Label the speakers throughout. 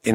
Speaker 1: In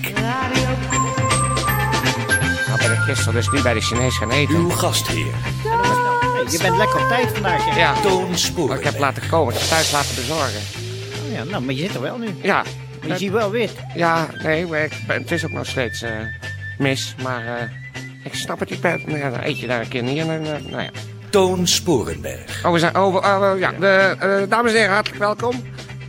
Speaker 2: Radio
Speaker 3: Nou ben ik gisteren dus niet bij de Chinees gaan eten.
Speaker 4: Uw gastheer,
Speaker 5: Je bent lekker op tijd vandaag. hè?
Speaker 3: Ja,
Speaker 4: Toon
Speaker 3: maar ik heb
Speaker 4: Spoor.
Speaker 3: laten komen. Ik heb thuis laten bezorgen.
Speaker 5: ja. Nou, maar je zit er wel nu.
Speaker 3: Ja,
Speaker 5: Je ziet wel wit.
Speaker 3: ja nee, maar ik ben- het is ook nog steeds eh, mis. Maar eh, ik snap het. Ik ben, nou ja, dan eet je daar een keer niet. En, dan, eh, nou ja.
Speaker 4: Toon Sporenberg.
Speaker 3: Oh, we zijn. Oh, we- oh, we- ja. De, eh, dames en heren, hartelijk welkom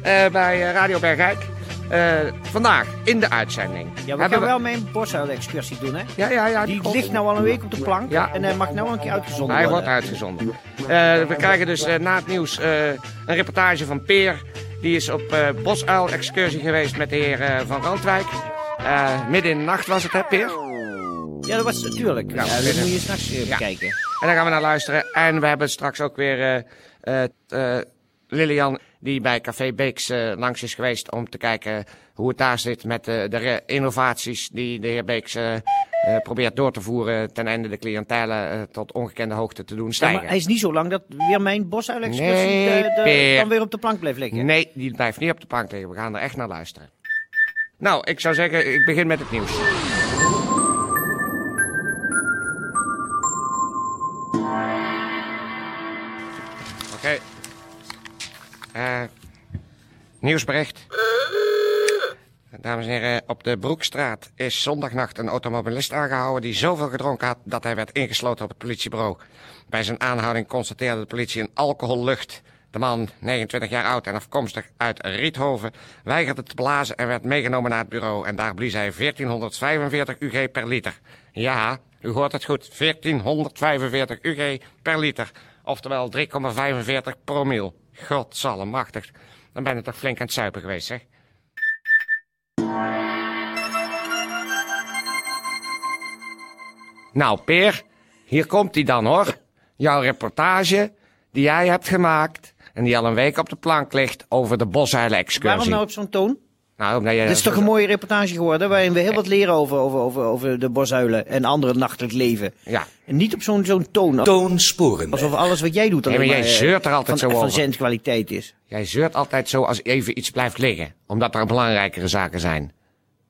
Speaker 3: eh, bij eh, Radio Bergijk. Eh, vandaag in de uitzending.
Speaker 5: Ja, we
Speaker 3: hebben
Speaker 5: gaan wel mee een bosuil-excursie doen, hè?
Speaker 3: Ja, ja, ja.
Speaker 5: Die
Speaker 3: komt.
Speaker 5: ligt nou al een week op de plank
Speaker 3: Ja.
Speaker 5: en eh, mag nou een keer uitgezonden
Speaker 3: Hij wordt
Speaker 5: worden.
Speaker 3: uitgezonden. Eh, we krijgen dus eh, na het nieuws eh, een reportage van Peer. Die is op eh Bosuil-excursie geweest met de heer eh, Van Randwijk. Eh, midden in de nacht was het, hè, Peer?
Speaker 5: Ja, dat was natuurlijk. Ja,
Speaker 3: we
Speaker 5: dat
Speaker 3: vinden-
Speaker 5: moet je s'nachts nachts
Speaker 3: Ja.
Speaker 5: bekijken.
Speaker 3: En daar gaan we naar luisteren. En we hebben straks ook weer eh, eh, t- eh, Lilian, die bij Café Beeks eh, langs is geweest om te kijken hoe het daar zit met eh, de re- innovaties die de heer Beeks eh, eh, probeert door te voeren ten einde de cliëntelen eh, tot ongekende hoogte te doen
Speaker 5: Ja,
Speaker 3: stijgen.
Speaker 5: maar hij is niet zo lang dat weer mijn bosuil-excursie
Speaker 3: Nee,
Speaker 5: eh, de-
Speaker 3: Peer.
Speaker 5: dan weer op de plank bleef liggen.
Speaker 3: Nee, die blijft niet op de plank liggen. We gaan er echt naar luisteren. Nou, ik zou zeggen, ik begin met het nieuws. Oké. Eh nieuwsbericht. Dames en heren, op de Broekstraat is zondagnacht een automobilist aangehouden die zoveel gedronken had dat hij werd ingesloten op het politiebureau. Bij zijn aanhouding constateerde de politie een alcohollucht. De man, 29 jaar oud en afkomstig uit Riethoven, weigerde te blazen en werd meegenomen naar het bureau. En daar blies hij 1445 UG per liter. Ja, u hoort het goed, 1445 UG per liter. Oftewel 3,45 promil. Godsallemachtig. Dan ben je toch flink aan het zuipen geweest, zeg? Nou, Peer, hier komt hij dan hoor. Jouw reportage die jij hebt gemaakt en die al een week op de plank ligt over de bosuilen-excursie.
Speaker 5: Waarom nou op zo'n toon?
Speaker 3: Nou, omdat je-
Speaker 5: Dit is toch een mooie reportage geworden waarin we heel wat leren over, over, over, over de bosuilen en andere nachtelijk leven.
Speaker 3: Ja.
Speaker 5: En niet op zo'n zo'n toon, als-
Speaker 4: Toon Sporenberg.
Speaker 5: alsof alles wat jij doet
Speaker 3: Nee, maar jij
Speaker 5: eh,
Speaker 3: zeurt er
Speaker 5: van,
Speaker 3: altijd zo
Speaker 5: van
Speaker 3: over.
Speaker 5: zendkwaliteit is.
Speaker 3: Jij zeurt altijd zo als even iets blijft liggen, omdat er belangrijkere zaken zijn.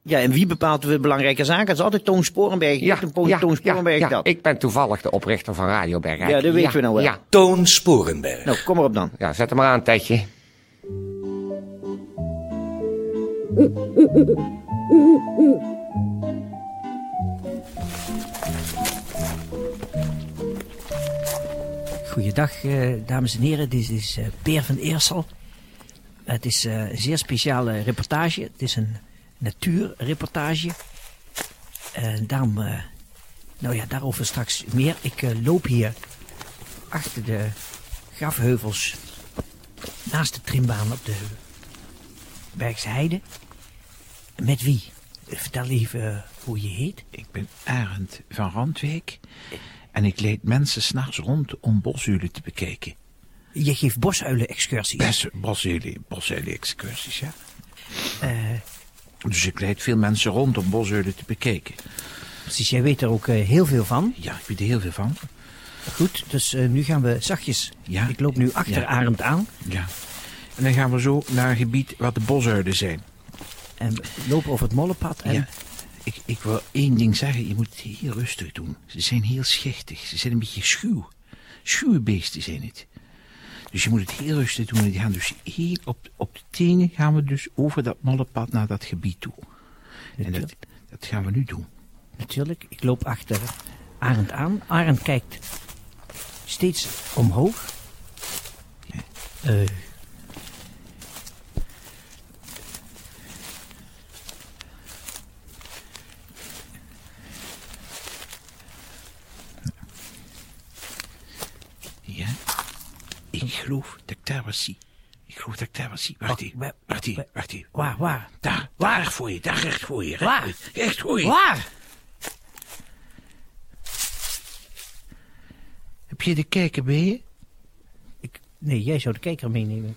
Speaker 5: Ja, en wie bepaalt de belangrijke zaken? Dat is altijd Toon Sporenberg. Ja, Toon Sporenberg
Speaker 3: ja, ja.
Speaker 5: dat.
Speaker 3: Ik ben toevallig de oprichter van Radio Bergrijk.
Speaker 5: Ja, dat weten we nou wel.
Speaker 3: Ja,
Speaker 4: Toon Sporenberg.
Speaker 5: Nou, kom maar op dan.
Speaker 3: ja zet hem maar aan, Tedje.
Speaker 6: Goeiedag, eh, dames en heren. Dit is eh Peer van Eersel. Het is eh, een zeer speciale reportage. Het is een natuurreportage. En daarom, eh, nou ja, daarover straks meer. Ik eh, loop hier achter de grafheuvels naast de trimbaan op de Bergse Heide. Met wie? Vertel even eh, hoe je heet.
Speaker 7: Ik ben Arend van Randwijk en ik leid mensen s'nachts rond om bosuilen te bekijken.
Speaker 6: Je geeft bosuilen-excursies.
Speaker 7: Best bosuilen, bosuilen excursies, ja. Dus ik leid veel mensen rond om bosuilen te bekijken.
Speaker 6: Precies, jij weet er ook eh, heel veel van.
Speaker 7: Ja, ik weet er heel veel van.
Speaker 6: Goed, dus eh, nu gaan we zachtjes.
Speaker 7: Ja.
Speaker 6: Ik loop nu achter
Speaker 7: Ja.
Speaker 6: Arend aan.
Speaker 7: Ja. En dan gaan we zo naar een gebied waar de bosuilen zijn.
Speaker 6: En loop over het mollenpad. En
Speaker 7: Ja. Ik, ik wil één ding zeggen, je moet het heel rustig doen. Ze zijn heel schichtig, ze zijn een beetje schuw. Schuwe beesten zijn het. Dus je moet het heel rustig doen. En die gaan dus heel op, op de tenen gaan we dus over dat malle pad naar dat gebied toe. En dat, dat gaan we nu doen.
Speaker 6: natuurlijk, ik loop achter Arend aan. Arend kijkt steeds omhoog. Eh.
Speaker 7: Ja. Ik geloof dat ik daar was zie. Ik geloof dat ik daar was zie. Wacht
Speaker 6: Wa-
Speaker 7: even,
Speaker 6: wa-
Speaker 7: wacht even,
Speaker 6: wa-
Speaker 7: wacht even.
Speaker 6: Oh, waar, waar?
Speaker 7: Daar, daar recht voor je, daar recht voor je. recht
Speaker 6: Waar?
Speaker 7: voor je, Recht voor je.
Speaker 6: Waar?
Speaker 7: Heb je de kijker bij je?
Speaker 6: Nee, jij zou de kijker meenemen.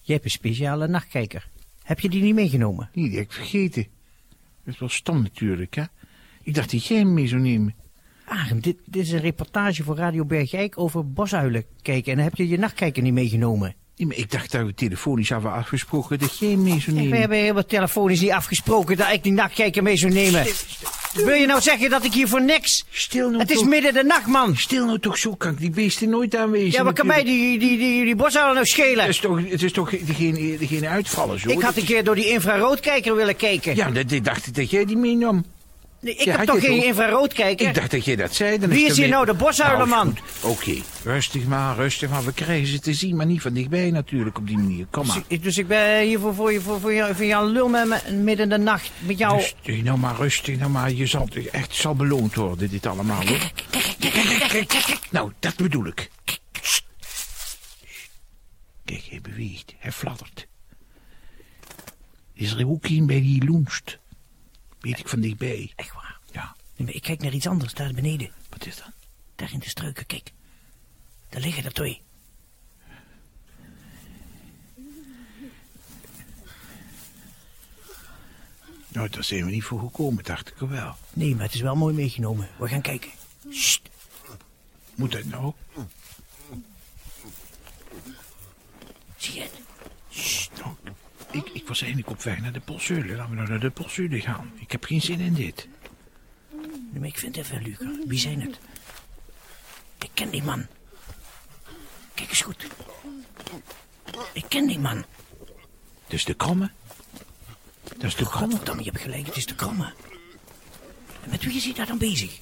Speaker 6: Jij hebt een speciale nachtkijker. Heb je die niet meegenomen?
Speaker 7: Nee, die heb ik vergeten. Dat is wel stom natuurlijk, hè? Ik dacht dat jij hem mee zou nemen.
Speaker 6: Arem, dit, dit is een reportage voor Radio Bergijk over bosuilen kijken. En dan heb je je nachtkijker niet meegenomen.
Speaker 7: Nee, maar ik dacht dat we telefonisch hadden afgesproken dat jij hem mee zou
Speaker 6: We
Speaker 7: nemen.
Speaker 6: hebben heel wat telefonisch niet afgesproken dat ik die nachtkijker mee zou nemen. Wil je nou zeggen dat ik hier voor niks...
Speaker 7: Stil nou
Speaker 6: Het is
Speaker 7: toch.
Speaker 6: midden de nacht, man.
Speaker 7: Stil nou toch, zo kan ik die beesten nooit aanwezen.
Speaker 6: Ja, maar kan mij
Speaker 7: natuurlijk.
Speaker 6: die, die, die, die bosuilen nou
Speaker 7: Het
Speaker 6: schelen?
Speaker 7: is toch, het is toch degene, degene uitvallen, zo?
Speaker 6: Ik had een keer door die infraroodkijker willen kijken.
Speaker 7: Ja, dat, ik dacht dat jij die meenam.
Speaker 6: Nee, ik
Speaker 7: ja,
Speaker 6: heb
Speaker 7: had
Speaker 6: toch
Speaker 7: je
Speaker 6: geen
Speaker 7: toch?
Speaker 6: infraroodkijker?
Speaker 7: Ik dacht dat jij dat zei. Dan
Speaker 6: Wie
Speaker 7: ik
Speaker 6: is
Speaker 7: ermee-
Speaker 6: hier nou de boshuilerman?
Speaker 7: Nou, is goed. Oké, rustig maar, rustig maar. We krijgen ze te zien, maar niet van dichtbij natuurlijk op die manier. Kom maar.
Speaker 6: Dus ik- Dus ik ben hier voor, voor, je- voor, voor, jou, voor jou lul met, me- midden in de nacht met jou.
Speaker 7: Rustig nou maar, rustig nou maar. Je zal toch echt zal beloond worden, dit allemaal hoor. Nou, dat bedoel ik. Sst. Kijk, hij beweegt, hij fladdert. Is er ook een bij die loenst? Weet ik van dichtbij.
Speaker 6: Echt waar.
Speaker 7: Ja,
Speaker 6: Nee, maar ik kijk naar iets anders, daar beneden.
Speaker 7: wat is dat?
Speaker 6: Daar in de struiken, kijk. Daar liggen er twee.
Speaker 7: Nou, daar zijn we niet voor gekomen, dacht ik wel.
Speaker 6: Nee, maar het is wel mooi meegenomen. We gaan kijken. Sst.
Speaker 7: Moet dat nou?
Speaker 6: Zie je het?
Speaker 7: Nou, ik, ik was eigenlijk op weg naar de Polsule. Laten we nou naar de Polsule gaan. Ik heb geen zin in dit.
Speaker 6: Nee, maar ik vind het even, Luca. Wie zijn het? Ik ken die man. Kijk eens goed. Ik ken die man.
Speaker 7: Dat is Dus de kromme. Dat is de kromme.
Speaker 6: Godverdamme, je hebt gelijk. Het is de kromme. En met wie is hij daar dan bezig?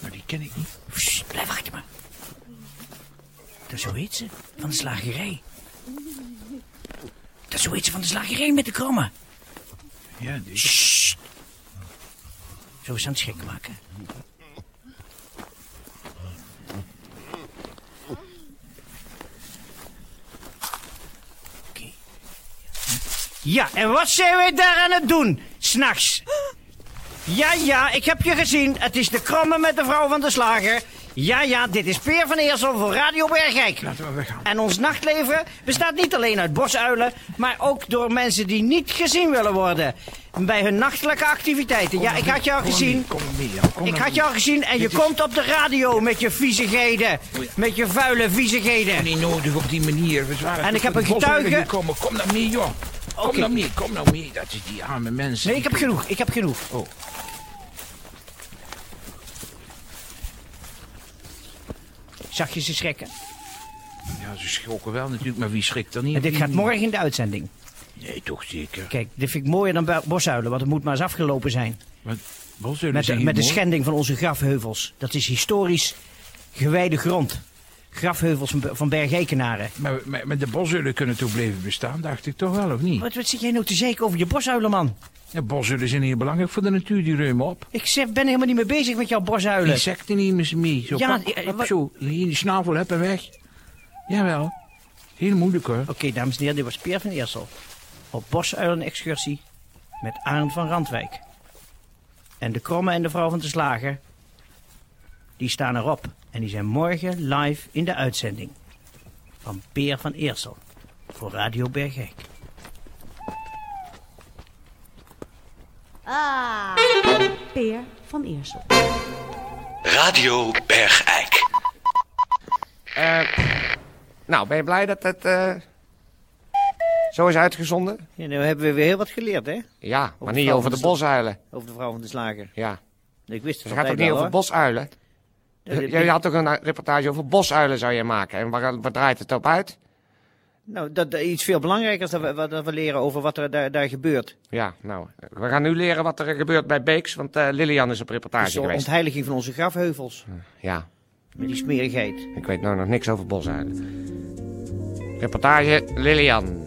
Speaker 7: Nou, die ken ik niet.
Speaker 6: Sst, blijf achter me. Dat zo heet ze, van de slagerij. Dat zo heet ze van de slagerij met de kromme.
Speaker 7: Ja, die...
Speaker 6: Sst. Zo is aan het schrik maken. Oké. Ja, en wat zijn wij daar aan het doen? S'nachts. Ja, ja, ik heb je gezien. Het is de kromme met de vrouw van de slager. Ja, ja, dit is Peer van Eersel voor Radio Bergijk.
Speaker 7: Laten we weggaan.
Speaker 6: En ons nachtleven bestaat niet alleen uit bosuilen, maar ook door mensen die niet gezien willen worden. Bij hun nachtelijke activiteiten. Ja, ik had je al
Speaker 7: Kom maar
Speaker 6: gezien.
Speaker 7: mee, Kom maar mee, Jan, kom
Speaker 6: Ik
Speaker 7: maar
Speaker 6: had je al
Speaker 7: mee.
Speaker 6: gezien en je
Speaker 7: Dit is-
Speaker 6: komt op de radio met je viezigheden. Met je vuile viezigheden.
Speaker 7: Niet nodig op die manier. We waren
Speaker 6: En ik
Speaker 7: tot
Speaker 6: heb een
Speaker 7: de Polsule
Speaker 6: getuige-
Speaker 7: Gekomen. Kom nou mee, joh. Kom
Speaker 6: Oké.
Speaker 7: nou mee, kom nou mee. Dat is die arme mensen.
Speaker 6: Nee, ik heb
Speaker 7: Die-
Speaker 6: genoeg. Ik heb genoeg.
Speaker 7: Oh.
Speaker 6: Zag je ze schrikken?
Speaker 7: Ja, ze schrokken wel natuurlijk, maar wie schrikt er niet?
Speaker 6: En dit
Speaker 7: Wie
Speaker 6: gaat
Speaker 7: niet?
Speaker 6: morgen in de uitzending.
Speaker 7: Nee, toch zeker.
Speaker 6: Kijk, dit vind ik mooier dan bo- bosuilen, want het moet maar eens afgelopen zijn.
Speaker 7: Wat, wat zullen
Speaker 6: Met,
Speaker 7: ze
Speaker 6: de,
Speaker 7: hier
Speaker 6: met de
Speaker 7: morgen-
Speaker 6: schending van onze grafheuvels. Dat is historisch gewijde grond. Grafheuvels van, van Bergekenaren.
Speaker 7: Maar, maar, maar de bosuilen kunnen toch blijven bestaan, dacht ik toch wel, of niet?
Speaker 6: Wat, wat zit jij nou te zeker over je bosuilenman?
Speaker 7: Ja, bosuilen zijn heel belangrijk voor de natuur, die ruimen op.
Speaker 6: Ik zeg, ben helemaal niet mee bezig met jouw bosuilen.
Speaker 7: Insecten nemen ze mee. Zo,
Speaker 6: Ja,
Speaker 7: ja,
Speaker 6: eh, wat-
Speaker 7: zo. Hier die snavel, heb en weg. Jawel. Heel moeilijk hoor.
Speaker 6: Oké, dames en heren, dit was Peer van Eersel. Op bosuilenexcursie met Arend van Randwijk. En de kromme en de vrouw van de slager, die staan erop. En die zijn morgen live in de uitzending. Van Peer van Eersel. Voor Radio Bergijk.
Speaker 8: Peer van Eersel.
Speaker 4: Radio Bergijk.
Speaker 3: Eh, nou, ben je blij dat het eh, zo is uitgezonden?
Speaker 5: Ja, nou hebben we weer heel wat geleerd, hè?
Speaker 3: Ja, maar
Speaker 5: het
Speaker 3: niet
Speaker 5: veld
Speaker 3: over
Speaker 5: van
Speaker 3: de
Speaker 5: de
Speaker 3: bosuilen.
Speaker 5: Over de vrouw van de slager.
Speaker 3: Ja,
Speaker 5: Ik wist
Speaker 3: dus
Speaker 5: het
Speaker 3: het gaat ook
Speaker 5: altijd
Speaker 3: niet
Speaker 5: wel,
Speaker 3: over
Speaker 5: hoor.
Speaker 3: bosuilen.
Speaker 5: Ja,
Speaker 3: J-
Speaker 5: dit-
Speaker 3: Jij had toch een eh, reportage over bosuilen zou je maken. En waar, waar draait het op uit?
Speaker 5: Nou, dat, dat iets veel belangrijkers dat we, wat- dat we leren over wat er daar, daar gebeurt.
Speaker 3: Ja, nou, eh, we gaan nu leren wat er eh, gebeurt bij Beeks, want eh, Lilian is op reportage
Speaker 5: Dus de
Speaker 3: geweest.
Speaker 5: ontheiliging van onze grafheuvels.
Speaker 3: Ja,
Speaker 5: Met die smerigheid.
Speaker 3: ik weet nou nog niks over bosuilen. Reportage Lilian.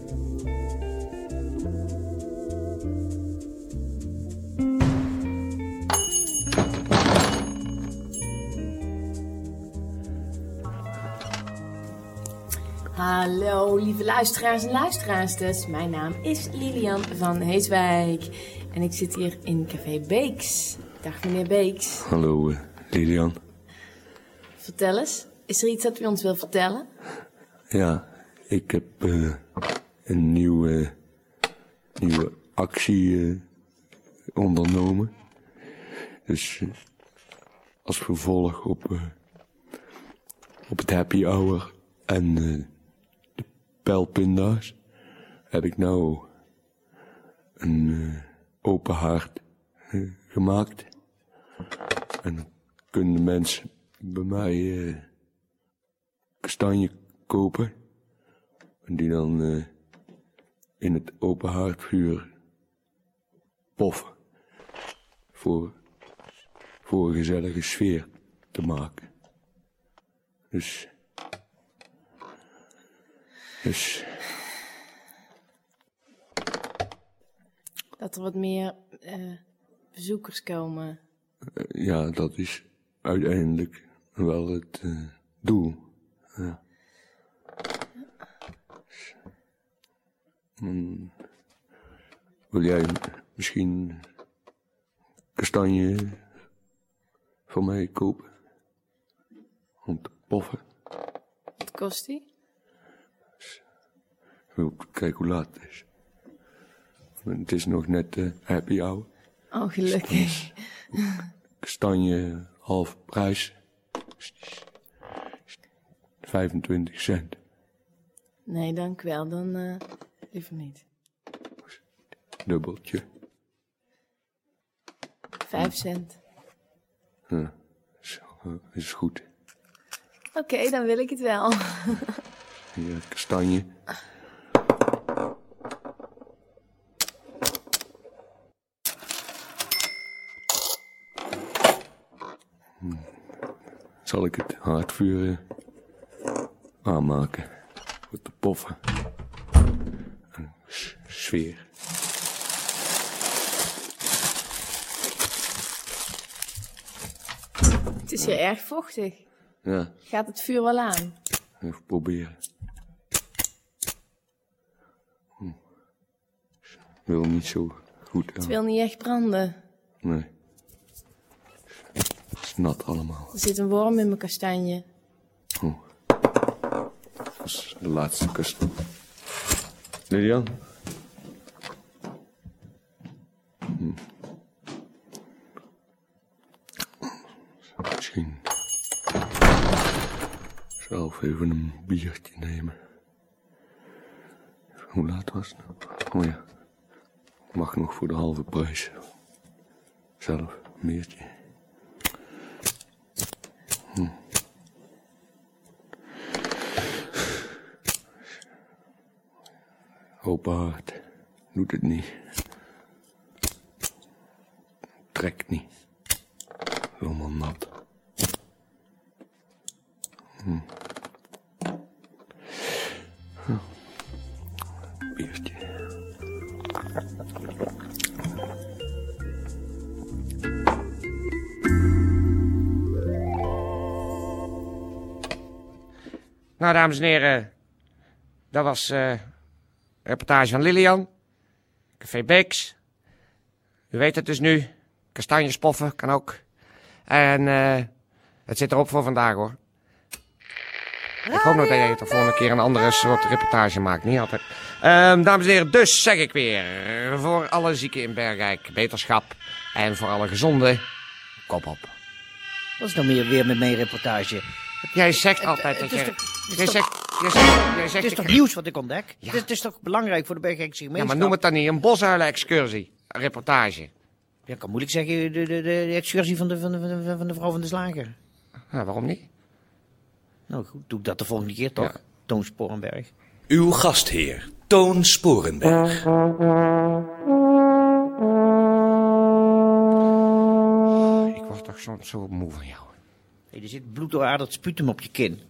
Speaker 9: Hallo lieve luisteraars en luisteraarsters. Mijn naam is Lilian van Heeswijk. En ik zit hier in Café Beeks. Dag meneer Beeks.
Speaker 10: Hallo, eh, Lilian.
Speaker 9: Vertel eens, is er iets dat u ons wil vertellen?
Speaker 10: Ja, ik heb eh, een nieuwe, nieuwe actie eh, ondernomen. Dus eh, als vervolg op, eh, op het happy hour en eh, de pijlpinda's heb ik nou een eh, open haard eh, gemaakt. En dan kunnen de mensen bij mij eh, kastanje kopen. En die dan eh, in het open haardvuur poffen. Voor, voor een gezellige sfeer te maken. Dus. Dus.
Speaker 9: Dat er wat meer eh, bezoekers komen.
Speaker 10: Ja, dat is uiteindelijk wel het eh, doel. Ja. Hmm. Wil jij misschien kastanje voor mij kopen? Om te poffen?
Speaker 9: Wat kost die?
Speaker 10: Wil ik kijken hoe laat het is. Want Het is nog net eh, happy hour.
Speaker 9: Oh, gelukkig.
Speaker 10: Kastanje half prijs. 25 cent.
Speaker 9: Nee, dank wel. Dan eh, liever niet.
Speaker 10: Dubbeltje.
Speaker 9: Vijf cent.
Speaker 10: Ja, is, Eh, is goed.
Speaker 9: Oké, dan wil ik het wel.
Speaker 10: Ja, eh, kastanje. Hm. Zal ik het haardvuur eh, aanmaken? Voor te poffen. En s- sfeer.
Speaker 9: Het is hier erg vochtig.
Speaker 10: Ja,
Speaker 9: Gaat het vuur wel aan?
Speaker 10: even proberen. Hm. Wil niet zo goed
Speaker 9: Het
Speaker 10: aan.
Speaker 9: wil niet echt branden.
Speaker 10: Nee. Het is nat allemaal.
Speaker 9: Er zit een worm in mijn kastanje.
Speaker 10: Oh. Dat is de laatste kust. Lilian? Hm. Misschien zelf even een biertje nemen. Hoe laat was het nou? Oh ja. Mag nog voor de halve prijs. Zelf een biertje. Open haard doet het niet. Trekt niet. Helemaal nat. Hm. Hm. Biertje.
Speaker 3: Nou, dames en heren. Dat was eh reportage van Lilian. Café Beeks. U weet het dus nu. Kastanjes poffen kan ook. En eh, het zit erop voor vandaag hoor. Ik hoop nog dat jij de volgende keer een andere soort reportage maakt. Niet altijd. Ehm, dames en heren, dus zeg ik weer. Voor alle zieken in Bergrijk, beterschap. En voor alle gezonden, kop op.
Speaker 5: Dat is dan weer, weer met mijn reportage.
Speaker 3: Jij zegt altijd dat
Speaker 5: het is
Speaker 3: je...
Speaker 5: toch- het is
Speaker 3: Jij
Speaker 5: toch-
Speaker 3: zegt... Jij zegt... Jij
Speaker 5: Het
Speaker 3: zegt...
Speaker 5: is toch
Speaker 3: ik-
Speaker 5: nieuws wat ik ontdek?
Speaker 3: Ja.
Speaker 5: Het, is, het is toch belangrijk voor de Bergrijkse
Speaker 3: Ja,
Speaker 5: gemeenschap?
Speaker 3: maar noem het dan niet een bosuilen-excursie. Een reportage.
Speaker 5: Ja, kan moeilijk zeggen, de, de, de excursie van de, van, de, van, de, van de vrouw van de slager.
Speaker 3: Nou, waarom niet?
Speaker 5: Nou goed, doe ik dat de volgende keer toch,
Speaker 3: Ja.
Speaker 5: Toon Sporenberg.
Speaker 4: Uw gastheer, Toon Sporenberg.
Speaker 3: Ik word toch soms zo moe van jou.
Speaker 5: Hey, er zit bloed door aardig sputum op je kin.